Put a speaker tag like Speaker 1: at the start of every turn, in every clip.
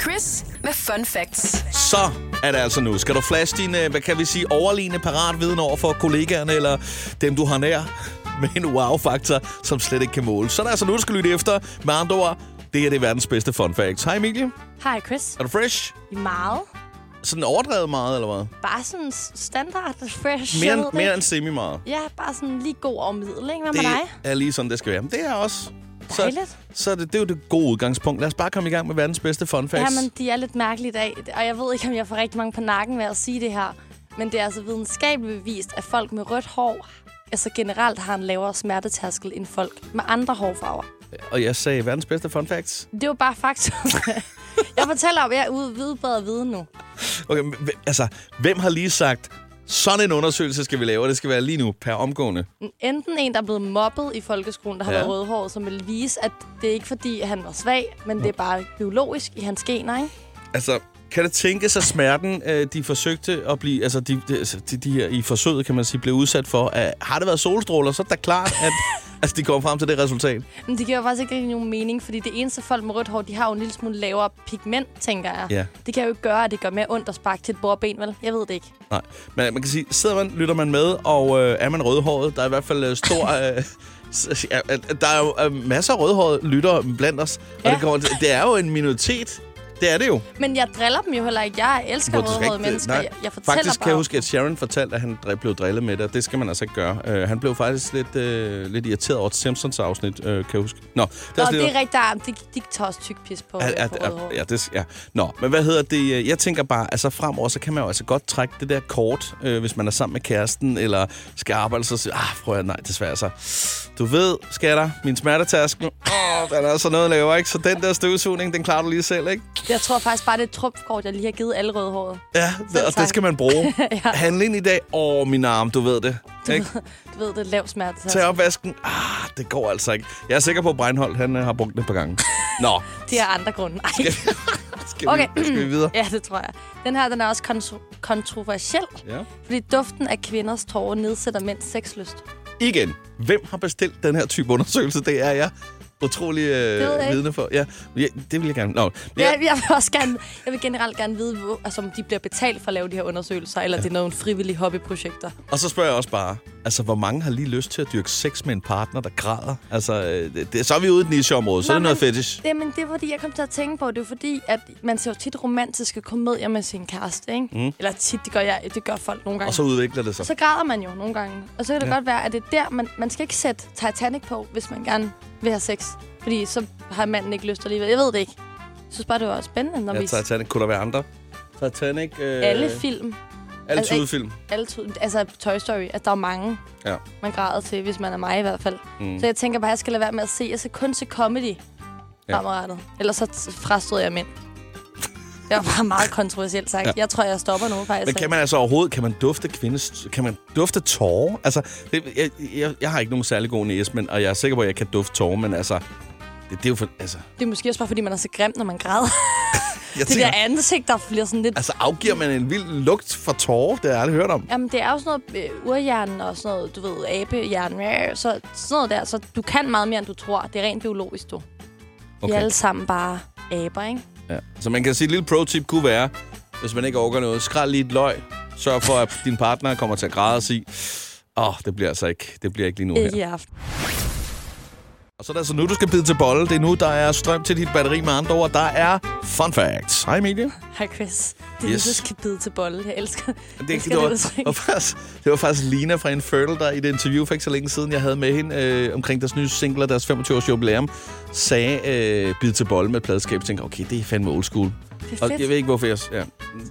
Speaker 1: quiz med fun facts.
Speaker 2: Så er det altså nu. Skal du flash din, øh, hvad kan vi sige, overliggende paratviden over for kollegaerne eller dem, du har nær med en wow-faktor, som slet ikke kan måle. Så er det altså nu, du skal lytte efter. Med andre ord, det her det er verdens bedste fun facts. Hej Emilie,
Speaker 3: Hej, Chris.
Speaker 2: er du fresh?
Speaker 3: Meget.
Speaker 2: Sådan overdrevet meget, eller hvad?
Speaker 3: Bare sådan standard, fresh.
Speaker 2: Mere,
Speaker 3: jeg
Speaker 2: end-
Speaker 3: ved det
Speaker 2: mere
Speaker 3: ikke.
Speaker 2: end semi meget.
Speaker 3: Ja, bare sådan lige god og middel, ikke? Hvad med dig?
Speaker 2: Det er lige sådan, det skal være. Men det er også. Så,
Speaker 3: Dejligt.
Speaker 2: så er det, det er jo det gode udgangspunkt. Lad os bare komme i gang med verdens bedste fun facts.
Speaker 3: Ja, men de er lidt mærkelige i dag, og jeg ved ikke, om jeg får rigtig mange på nakken ved at sige det her. Men det er altså videnskabeligt bevist, at folk med rødt hår altså generelt har en lavere smertetærskel end folk med andre hårfarver.
Speaker 2: Og jeg sagde verdens bedste fun facts.
Speaker 3: Det er jo bare faktum. jeg fortæller om, at jeg er ude vidbredt viden nu.
Speaker 2: Okay, men hvem- altså, hvem har lige sagt, sådan en undersøgelse skal vi lave, og det skal være lige nu, per omgående?
Speaker 3: Enten en, der er blevet mobbet i folkeskolen, der har
Speaker 2: Ja.
Speaker 3: ja. været rødhåret, som vil vise, at det er ikke fordi, at han var svag, men det er bare biologisk i hans gener, ikke?
Speaker 2: Altså, kan det tænkes, at smerten, øh, de forsøgte at blive, altså de, de, altså, de, de her i forsøget, kan man sige, blev udsat for, at, har det været solstråler, så er det da klart, at altså, de kommer frem til det resultat.
Speaker 3: Men det giver faktisk ikke rigtig nogen mening, fordi det eneste folk med rødt hår, de har jo en lille smule lavere pigment, tænker jeg.
Speaker 2: Ja.
Speaker 3: Det kan jo ikke gøre, at det gør mere ondt at sparke til et bordben, vel? Jeg ved det ikke.
Speaker 2: Nej, men man kan sige, sidder man, lytter man med, og øh, er man rødhåret, der er i hvert fald øh, stor... Øh, s- ja, at- der er jo øh, masser af rødhårede lyttere blandt os, og
Speaker 3: Ja.
Speaker 2: det, kommer, det er jo en minoritet. Det er det jo.
Speaker 3: Men jeg driller dem jo heller ikke. Jeg elsker
Speaker 2: Hvor du skal
Speaker 3: rødhårede
Speaker 2: ikke-
Speaker 3: mennesker.
Speaker 2: nej.
Speaker 3: Jeg, jeg fortæller
Speaker 2: Faktisk
Speaker 3: bare.
Speaker 2: kan jeg huske, at Sharon fortalte, at han dr- blev drillet med det, og det skal man altså ikke gøre. Øh, han blev faktisk lidt, øh, lidt irriteret over et Simpsons-afsnit, øh, kan jeg huske. Nå, det
Speaker 3: Nå,
Speaker 2: også
Speaker 3: det
Speaker 2: lidt-
Speaker 3: er rigtigt. Ah, men De, de tager også tyk pis på,
Speaker 2: Ja,
Speaker 3: ja, på
Speaker 2: ja,
Speaker 3: rødhår.
Speaker 2: ja, det, ja. Nå, men hvad hedder det? Jeg tænker bare, altså fremover, så kan man jo altså godt trække det der kort, øh, hvis man er sammen med kæresten, eller skal arbejde, så siger, ah, prøv at, nej, desværre så. Du ved, skatter, min smertetærskel, åh, den er så noget lavere, ikke? Så den der støvsugning, den klarer du lige selv, ikke?
Speaker 3: Jeg tror faktisk bare, det er et trumfkort, jeg lige har givet alle rødhårede.
Speaker 2: Ja,
Speaker 3: Selv
Speaker 2: og det
Speaker 3: tak.
Speaker 2: skal man bruge. ja.
Speaker 3: Ja.
Speaker 2: Handle ind i dag, åh, min arm, du ved det, ikke?
Speaker 3: Du ved, det er lav smerte.
Speaker 2: Tag opvasken, ah, det går altså ikke. Jeg er sikker på, at Breinholt, han øh, har brugt det på gange. Nå,
Speaker 3: Det er andre grunde. Ej.
Speaker 2: skal,
Speaker 3: Okay.
Speaker 2: vi, skal vi videre?
Speaker 3: Ja, det tror jeg. Den her, den er også kontro- kontroversiel,
Speaker 2: Ja.
Speaker 3: fordi duften af kvinders tårer nedsætter mænds sexlyst.
Speaker 2: igen, hvem har bestilt den her type undersøgelse? Det er jeg utrolig
Speaker 3: ved jeg
Speaker 2: øh,
Speaker 3: ikke.
Speaker 2: vidne for. Ja, ja, det vil jeg gerne. Nå, men
Speaker 3: Ja.
Speaker 2: jeg,
Speaker 3: Jeg, jeg, vil også gerne, jeg vil generelt gerne vide, hvor, altså, om de bliver betalt for at lave de her undersøgelser, eller ja. det er nogle frivillige hobbyprojekter.
Speaker 2: og så spørger jeg også bare, altså, hvor mange har lige lyst til at dyrke sex med en partner, der græder? Altså, øh, det- det, så er vi ude i et nicheområde, så er det
Speaker 3: Nå,
Speaker 2: noget
Speaker 3: men-
Speaker 2: fetish.
Speaker 3: Jamen, det er fordi, jeg kom til at tænke på, det er fordi, at man ser jo tit romantiske komedier med sin kæreste, ikke? Mm. Eller tit, det gør, jeg, det gør folk nogle gange.
Speaker 2: Og så udvikler det sig.
Speaker 3: så græder man jo nogle gange. Og så kan det ja. godt være, at det er der, man, man skal ikke sætte Titanic på, hvis man gerne vil have sex. Fordi så har manden ikke lyst alligevel. Jeg ved det ikke. Jeg synes bare, det var spændende, når ja,
Speaker 2: Ja,
Speaker 3: vi...
Speaker 2: Titanic. Kunne der være andre? Titanic. Øh,
Speaker 3: Alle film,
Speaker 2: Alle
Speaker 3: altså,
Speaker 2: tudefilm.
Speaker 3: alle to, altså Toy Story, at der er mange,
Speaker 2: Ja.
Speaker 3: man græder til, hvis man er mig i hvert fald. Mm. Så jeg tænker bare, at jeg skal lade være med at se. Jeg skal kun se comedy
Speaker 2: Ja.
Speaker 3: ja. fremadrettet. Ellers så t- frastod jeg mænd. Det var bare meget kontroversielt sagt. Ja. Jeg tror, jeg stopper nu, faktisk.
Speaker 2: Men kan man altså overhovedet, kan man dufte kvindes, kan man dufte tårer? Altså, det, jeg, jeg, jeg, har ikke nogen særlig god næse, men, og jeg er sikker på, at jeg kan dufte tårer, men altså, det, det er jo for, altså,
Speaker 3: Det er måske også bare, fordi man er så grim, når man græder.
Speaker 2: jeg
Speaker 3: det der ansigt, der bliver sådan lidt
Speaker 2: Altså, afgiver man en vild lugt fra tårer? Det har jeg aldrig hørt om.
Speaker 3: Jamen, det er jo sådan noget øh, urhjernen og sådan noget, du ved, abehjernen, øh, så sådan noget der. Så du kan meget mere, end du tror. Det er rent biologisk, du. Okay. Vi er alle sammen bare aber, ikke?
Speaker 2: Ja. Så man kan sige, at et lille pro-tip kunne være, hvis man ikke overgår noget, skræl lige et løg. Sørg for, at din partner kommer til at græde og sige, åh, oh, det bliver altså ikke, det bliver ikke lige nu her.
Speaker 3: Ikke Øh, i aften.
Speaker 2: Og så er det altså nu, du skal bide til bolle. Det er nu, der er strøm til dit batteri med andre ord. Der er fun facts. Hej, Emilie.
Speaker 3: Hej, Chris. Det er
Speaker 2: Yes.
Speaker 3: yes. det, du skal bide til bolle. Jeg elsker det. altså
Speaker 2: det,
Speaker 3: Elsker
Speaker 2: det, var,
Speaker 3: udtryk.
Speaker 2: det, var faktisk, det var faktisk Lina fra Infertile, der i et interview for ikke så længe siden, jeg havde med hende øh, omkring deres nye single og deres 25-års jubilæum, sagde øh, bid til bolle med et pladskab. Jeg tænkte, okay, det er fandme old school.
Speaker 3: Det er
Speaker 2: Og
Speaker 3: fedt.
Speaker 2: jeg ved ikke, hvorfor jeg... s- Ja.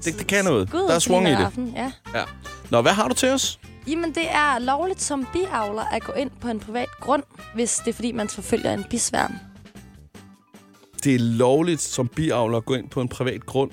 Speaker 2: Det, det kan noget.
Speaker 3: Gud,
Speaker 2: der er swung i
Speaker 3: din
Speaker 2: det.
Speaker 3: aften, Ja.
Speaker 2: Ja. Nå, hvad har du til os?
Speaker 3: Jamen, det er lovligt som biavler at gå ind på en privat grund, hvis det er, fordi man forfølger en bisværm.
Speaker 2: Det er lovligt som biavler at gå ind på en privat grund,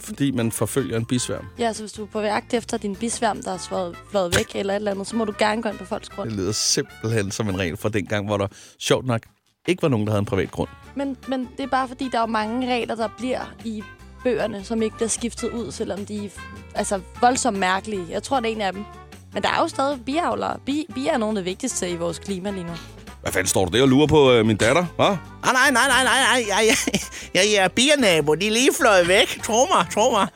Speaker 2: fordi man forfølger en bisværm.
Speaker 3: Ja, så hvis du er på jagt efter din bisværm, der har slået- flået væk eller et eller andet, så må du gerne gå ind på folks grund.
Speaker 2: Det lyder simpelthen som en regel fra dengang, hvor der sjovt nok ikke var nogen, der havde en privat grund.
Speaker 3: Men, men det er bare fordi, der er jo mange regler, der bliver i bøgerne, som ikke bliver skiftet ud, selvom de er f- altså, voldsomt mærkelige. Jeg tror, det er en af dem. Men der er jo stadig biavlere. Bi, bier er nogle af det vigtigste i vores klima lige nu.
Speaker 2: Hvad fanden står du der og lurer på øh, min datter, hva?
Speaker 4: Ah, nej, nej, nej, nej, nej. Jeg, jeg, jeg, jeg er biernabo. De er lige fløjet væk. Tro mig, tro mig.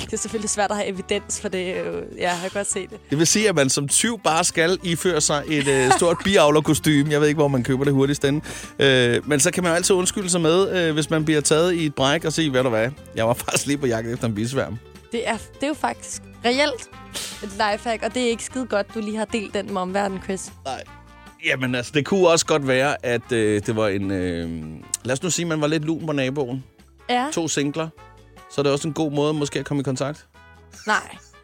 Speaker 3: Det er selvfølgelig svært at have evidens for det. øh, Ja, jeg kan godt se det.
Speaker 2: Det vil sige, at man som tyv bare skal iføre sig et øh, stort biavlerkostyme. Jeg ved ikke, hvor man køber det hurtigst den. Øh, men så kan man jo altid undskylde sig med, øh, hvis man bliver taget i et bræk og sige, hvad du hvad, jeg var faktisk lige på jagt efter en bisværm.
Speaker 3: Det er, det er jo faktisk reelt et lifehack, og det er ikke skide godt, du lige har delt den med omverdenen, Chris.
Speaker 2: Nej. Jamen altså, det kunne også godt være, at øh, det var en... Øh, lad os nu sige, at man var lidt lun på naboen.
Speaker 3: Ja,
Speaker 2: To singler. Så er det også en god måde måske at komme i kontakt.
Speaker 3: nej.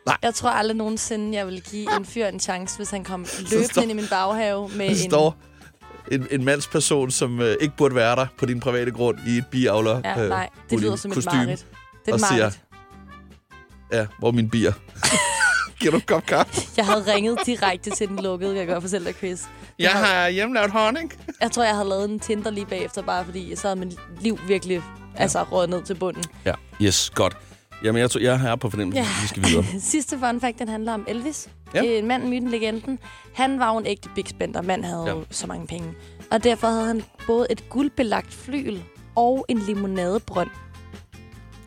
Speaker 2: Nej.
Speaker 3: Jeg tror aldrig nogensinde, jeg vil give en fyr en chance, hvis han kom løbende
Speaker 2: står-
Speaker 3: ind i min baghave med
Speaker 2: Der
Speaker 3: en...
Speaker 2: står en, en mandsperson, som øh, ikke burde være der på din private grund i et biavler
Speaker 3: Ja, nej. Det
Speaker 2: øh,
Speaker 3: lyder som et
Speaker 2: kostyme.
Speaker 3: mareridt. Det er
Speaker 2: og
Speaker 3: et
Speaker 2: siger-
Speaker 3: mareridt.
Speaker 2: Ja, hvor er min bier. Giver du en kop kaffe?
Speaker 3: Jeg havde ringet direkte til den lukkede, kan jeg godt fortælle dig, Chris.
Speaker 2: Jeg har hjemmelavet honning.
Speaker 3: Jeg tror, jeg havde lavet en Tinder lige bagefter, bare fordi så havde mit liv virkelig altså, råd ned til bunden.
Speaker 2: Ja, yes, godt. Jamen, jeg, tror, jeg er her på fornemmelsen.
Speaker 3: Ja.
Speaker 2: Vi skal videre.
Speaker 3: Sidste fun fact, den handler om Elvis.
Speaker 2: Ja.
Speaker 3: Ja. En mand, myten, legenden. Han var jo en ægte big spender. Mand havde
Speaker 2: Ja.
Speaker 3: ja. så mange penge. Og derfor havde han både et guldbelagt flyl og en limonadebrønd.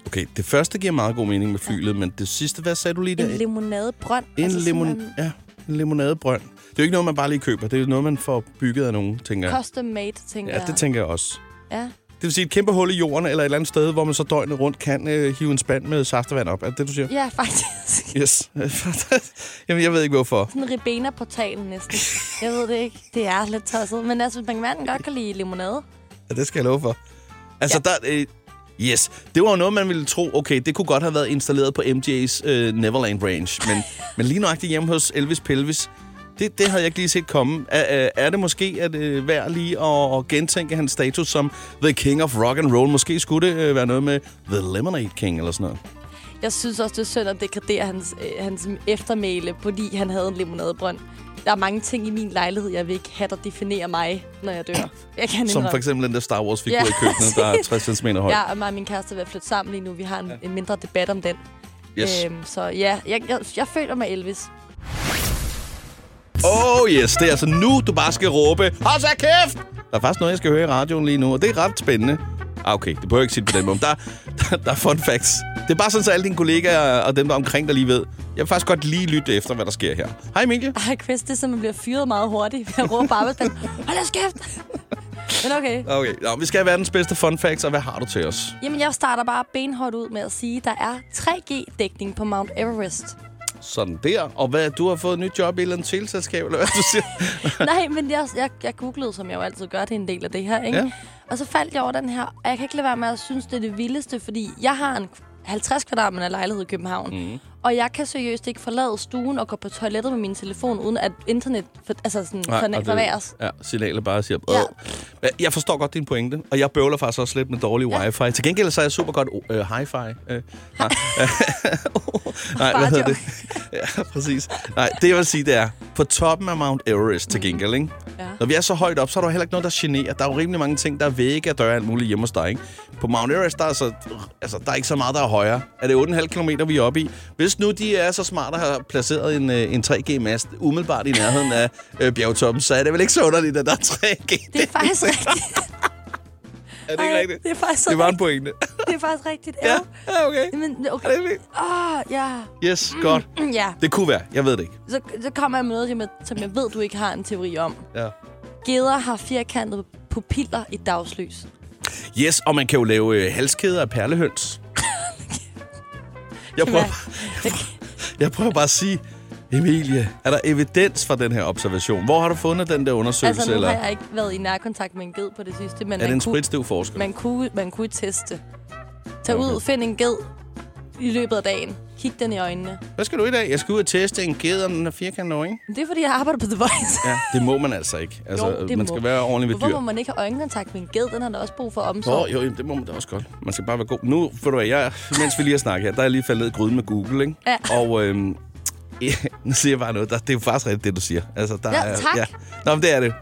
Speaker 2: Okay, det første giver meget god mening med flylet, men det sidste, hvad sagde du lige der?
Speaker 3: En limonadebrønd.
Speaker 2: en,
Speaker 3: altså sådan
Speaker 2: limon ja, en limonadebrønd. Det er jo ikke noget, man bare lige køber. Det er jo noget, man får bygget af nogen, tænker jeg.
Speaker 3: Custom made, tænker
Speaker 2: Ja, det tænker jeg også.
Speaker 3: jeg. Ja.
Speaker 2: Det vil sige et kæmpe hul i jorden, eller et eller andet sted, hvor man så døgnet rundt kan øh, hive en spand med saftevand op. Er det det, du siger?
Speaker 3: ja, faktisk.
Speaker 2: Yes. Jamen, jeg ved ikke, hvorfor.
Speaker 3: Sådan Ribena-portalen næsten. Jeg ved det ikke. Det er lidt tosset. Men altså, man kan godt kan lide limonade.
Speaker 2: Ja, det skal jeg love for. Altså, ja. der... Øh, yes. Det var jo noget, man ville tro, okay, det kunne godt have været installeret på MJ's øh, Neverland Range. Men, men lige nøjagtigt hjemme hos Elvis Pelvis, det, det havde jeg ikke lige set komme. Er, er- er det måske at øh, værd lige at, at gentænke hans status som The King of Rock and Roll? Måske skulle det øh, være noget med The Lemonade King eller sådan noget.
Speaker 3: Jeg synes også, det er synd at degradere hans, øh, hans eftermæle, fordi han havde en limonadebrønd. Der er mange ting i min lejlighed, jeg vil ikke have, der definerer mig, når jeg dør. Jeg kan
Speaker 2: Som for
Speaker 3: indrømme.
Speaker 2: eksempel den der Star Wars-figur
Speaker 3: Ja,
Speaker 2: i køkkenet, der er 60 cm høj.
Speaker 3: Jeg og mig og min kæreste er ved at flytte sammen lige nu. Vi har en, ja. en mindre debat om den.
Speaker 2: Yes.
Speaker 3: Øhm, så ja, jeg, jeg, jeg føler mig Elvis.
Speaker 2: Oh yes, det er altså nu, du bare skal råbe, hold så kæft! Der er faktisk noget, jeg skal høre i radioen lige nu, og det er ret spændende. Ah, okay, det behøver jeg ikke sige på den måde. men Der, der, der er fun facts. Det er bare sådan, så alle dine kollegaer og dem, der er omkring dig lige ved. Jeg vil faktisk godt lige lytte efter, hvad der sker her. Hej, Emilie.
Speaker 3: Ej, Chris, det er som, man bliver fyret meget hurtigt. Jeg råber på arbejdspladsen. Hold da kæft! Men okay.
Speaker 2: Okay, nå, vi skal have verdens bedste fun facts, og hvad har du til os?
Speaker 3: Jamen, jeg starter bare benhårdt ud med at sige, at der er 3G-dækning på Mount Everest.
Speaker 2: Sådan der. Og hvad, du har fået et nyt job i et eller andet teleselskab, eller hvad du siger?
Speaker 3: Nej, men jeg, jeg, jeg googlede, som jeg jo altid gør, det er en del af det her, ikke?
Speaker 2: Ja.
Speaker 3: Ja. Og så faldt jeg over den her, og jeg kan ikke lade være med at synes, det er det vildeste, fordi jeg har en 50 kvadratmeter lejlighed i København,
Speaker 2: Mhm.
Speaker 3: mm. og jeg kan seriøst ikke forlade stuen og gå på toilettet med min telefon, uden at internet for, altså sådan,
Speaker 2: Nej,
Speaker 3: Nej,
Speaker 2: og det-
Speaker 3: fornæres.
Speaker 2: Ja, signalet bare siger...
Speaker 3: Ja.
Speaker 2: Ja. Jeg forstår godt din pointe, og jeg bøvler faktisk også lidt med dårlig ja.
Speaker 3: Ja.
Speaker 2: wifi. Til gengæld så er jeg super godt uh, hi-fi. Øh, nej, nej, hvad hedder det? Ja, præcis. Nej, det jeg vil sige, det er, på toppen af Mount Everest til gengæld, ikke?
Speaker 3: Mm. Ja.
Speaker 2: Når vi er så højt op, så er der jo heller ikke noget, der generer. Der er jo rimelig mange ting, der er vægge og døre og alt muligt hjemme hos dig, ikke? På Mount Everest, der er, så, altså, der er ikke så meget, der er højere. Er det 8,5 km, vi er oppe i? Hvis nu de er så smarte at have placeret en, øh, en 3G-mast umiddelbart i nærheden af øh, bjergtoppen, så er det vel ikke så underligt, at der er 3G.
Speaker 3: Det er faktisk rigtigt.
Speaker 2: er det ikke
Speaker 3: Ej,
Speaker 2: rigtigt?
Speaker 3: Det er faktisk,
Speaker 2: Det var en
Speaker 3: rigtigt.
Speaker 2: pointe.
Speaker 3: det er faktisk rigtigt. Ja.
Speaker 2: ja,
Speaker 3: ja.
Speaker 2: ja, okay.
Speaker 3: Men
Speaker 2: Er det
Speaker 3: okay.
Speaker 2: ikke?
Speaker 3: Åh, oh, ja.
Speaker 2: Yes, godt.
Speaker 3: ja.
Speaker 2: Det kunne være. Jeg ved det ikke.
Speaker 3: Så, så kommer jeg med noget, som jeg, som jeg ved, du ikke har en teori om.
Speaker 2: Ja.
Speaker 3: Geder har firkantede pupiller i dagslys.
Speaker 2: Yes, og man kan jo lave øh, halskæder af perlehøns. jeg, prøver, jeg prøver bare at sige, Emilie, er der evidens for den her observation? Hvor har du fundet den der undersøgelse?
Speaker 3: Altså, nu
Speaker 2: eller?
Speaker 3: har jeg ikke været i nærkontakt med en ged på det sidste, men
Speaker 2: Er det en
Speaker 3: man, kunne,
Speaker 2: spritstiv forsker?
Speaker 3: man, kunne, man kunne teste. Tag
Speaker 2: Okay.
Speaker 3: ud, find en ged i løbet af dagen. Kig den i øjnene.
Speaker 2: Hvad skal du i dag? Jeg skal ud og teste en ged, om den er firkantet eller ikke?
Speaker 3: Men det er, fordi jeg arbejder på The Voice.
Speaker 2: Ja, det må man altså ikke. Altså,
Speaker 3: Jo,
Speaker 2: man
Speaker 3: det må.
Speaker 2: skal være ordentlig ved
Speaker 3: Hvorfor
Speaker 2: dyr.
Speaker 3: må man ikke have øjenkontakt med en ged? Den har da også brug for omsorg.
Speaker 2: Nå, jo, jamen, det må man da også godt. Man skal bare være god. Nu, for du hvad, jeg, mens vi lige har snakket her, der er jeg lige faldet ned i gryden med Google, ikke?
Speaker 3: Ja.
Speaker 2: Og øhm, ja, nu siger jeg bare noget. Der, det er jo faktisk rigtigt, det du siger. Altså, der
Speaker 3: Ja,
Speaker 2: er,
Speaker 3: tak.
Speaker 2: Nå, men det er det.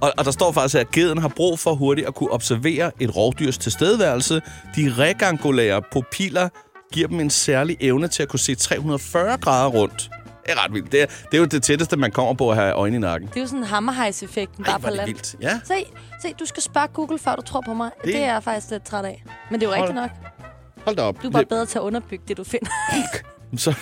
Speaker 2: Og, og der står faktisk her, at geden har brug for hurtigt at kunne observere et rovdyrs tilstedeværelse. De regangulære pupiller giver dem en særlig evne til at kunne se 340 grader rundt. Det er ret vildt. Det er, det er jo det tætteste, man kommer på at have øjne i nakken.
Speaker 3: Det er jo sådan hammerhejseffekten,
Speaker 2: Ej,
Speaker 3: bare
Speaker 2: hvor er
Speaker 3: på
Speaker 2: det
Speaker 3: land.
Speaker 2: vildt. Ja.
Speaker 3: Se, se, du skal spørge Google, før du tror på mig. Det,
Speaker 2: Det-
Speaker 3: det er jeg faktisk lidt træt af. Men det er jo rigtigt nok.
Speaker 2: Hold da op.
Speaker 3: Du er bare bedre til at underbygge det, du finder.
Speaker 2: Så,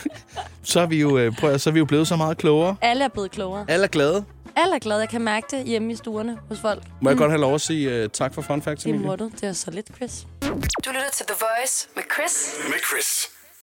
Speaker 2: så, er vi jo, øh, prøv at, så er vi jo blevet så meget klogere.
Speaker 3: Alle er blevet klogere.
Speaker 2: Alle er glade.
Speaker 3: Alle er glade. Jeg kan mærke det hjemme i stuerne hos folk.
Speaker 2: Må jeg godt have lov at sige uh, tak for fun facts,
Speaker 3: Det
Speaker 2: Emilie?
Speaker 3: må du. Det er så lidt, Chris.
Speaker 1: Du lytter til The Voice med Chris.
Speaker 5: Med Chris.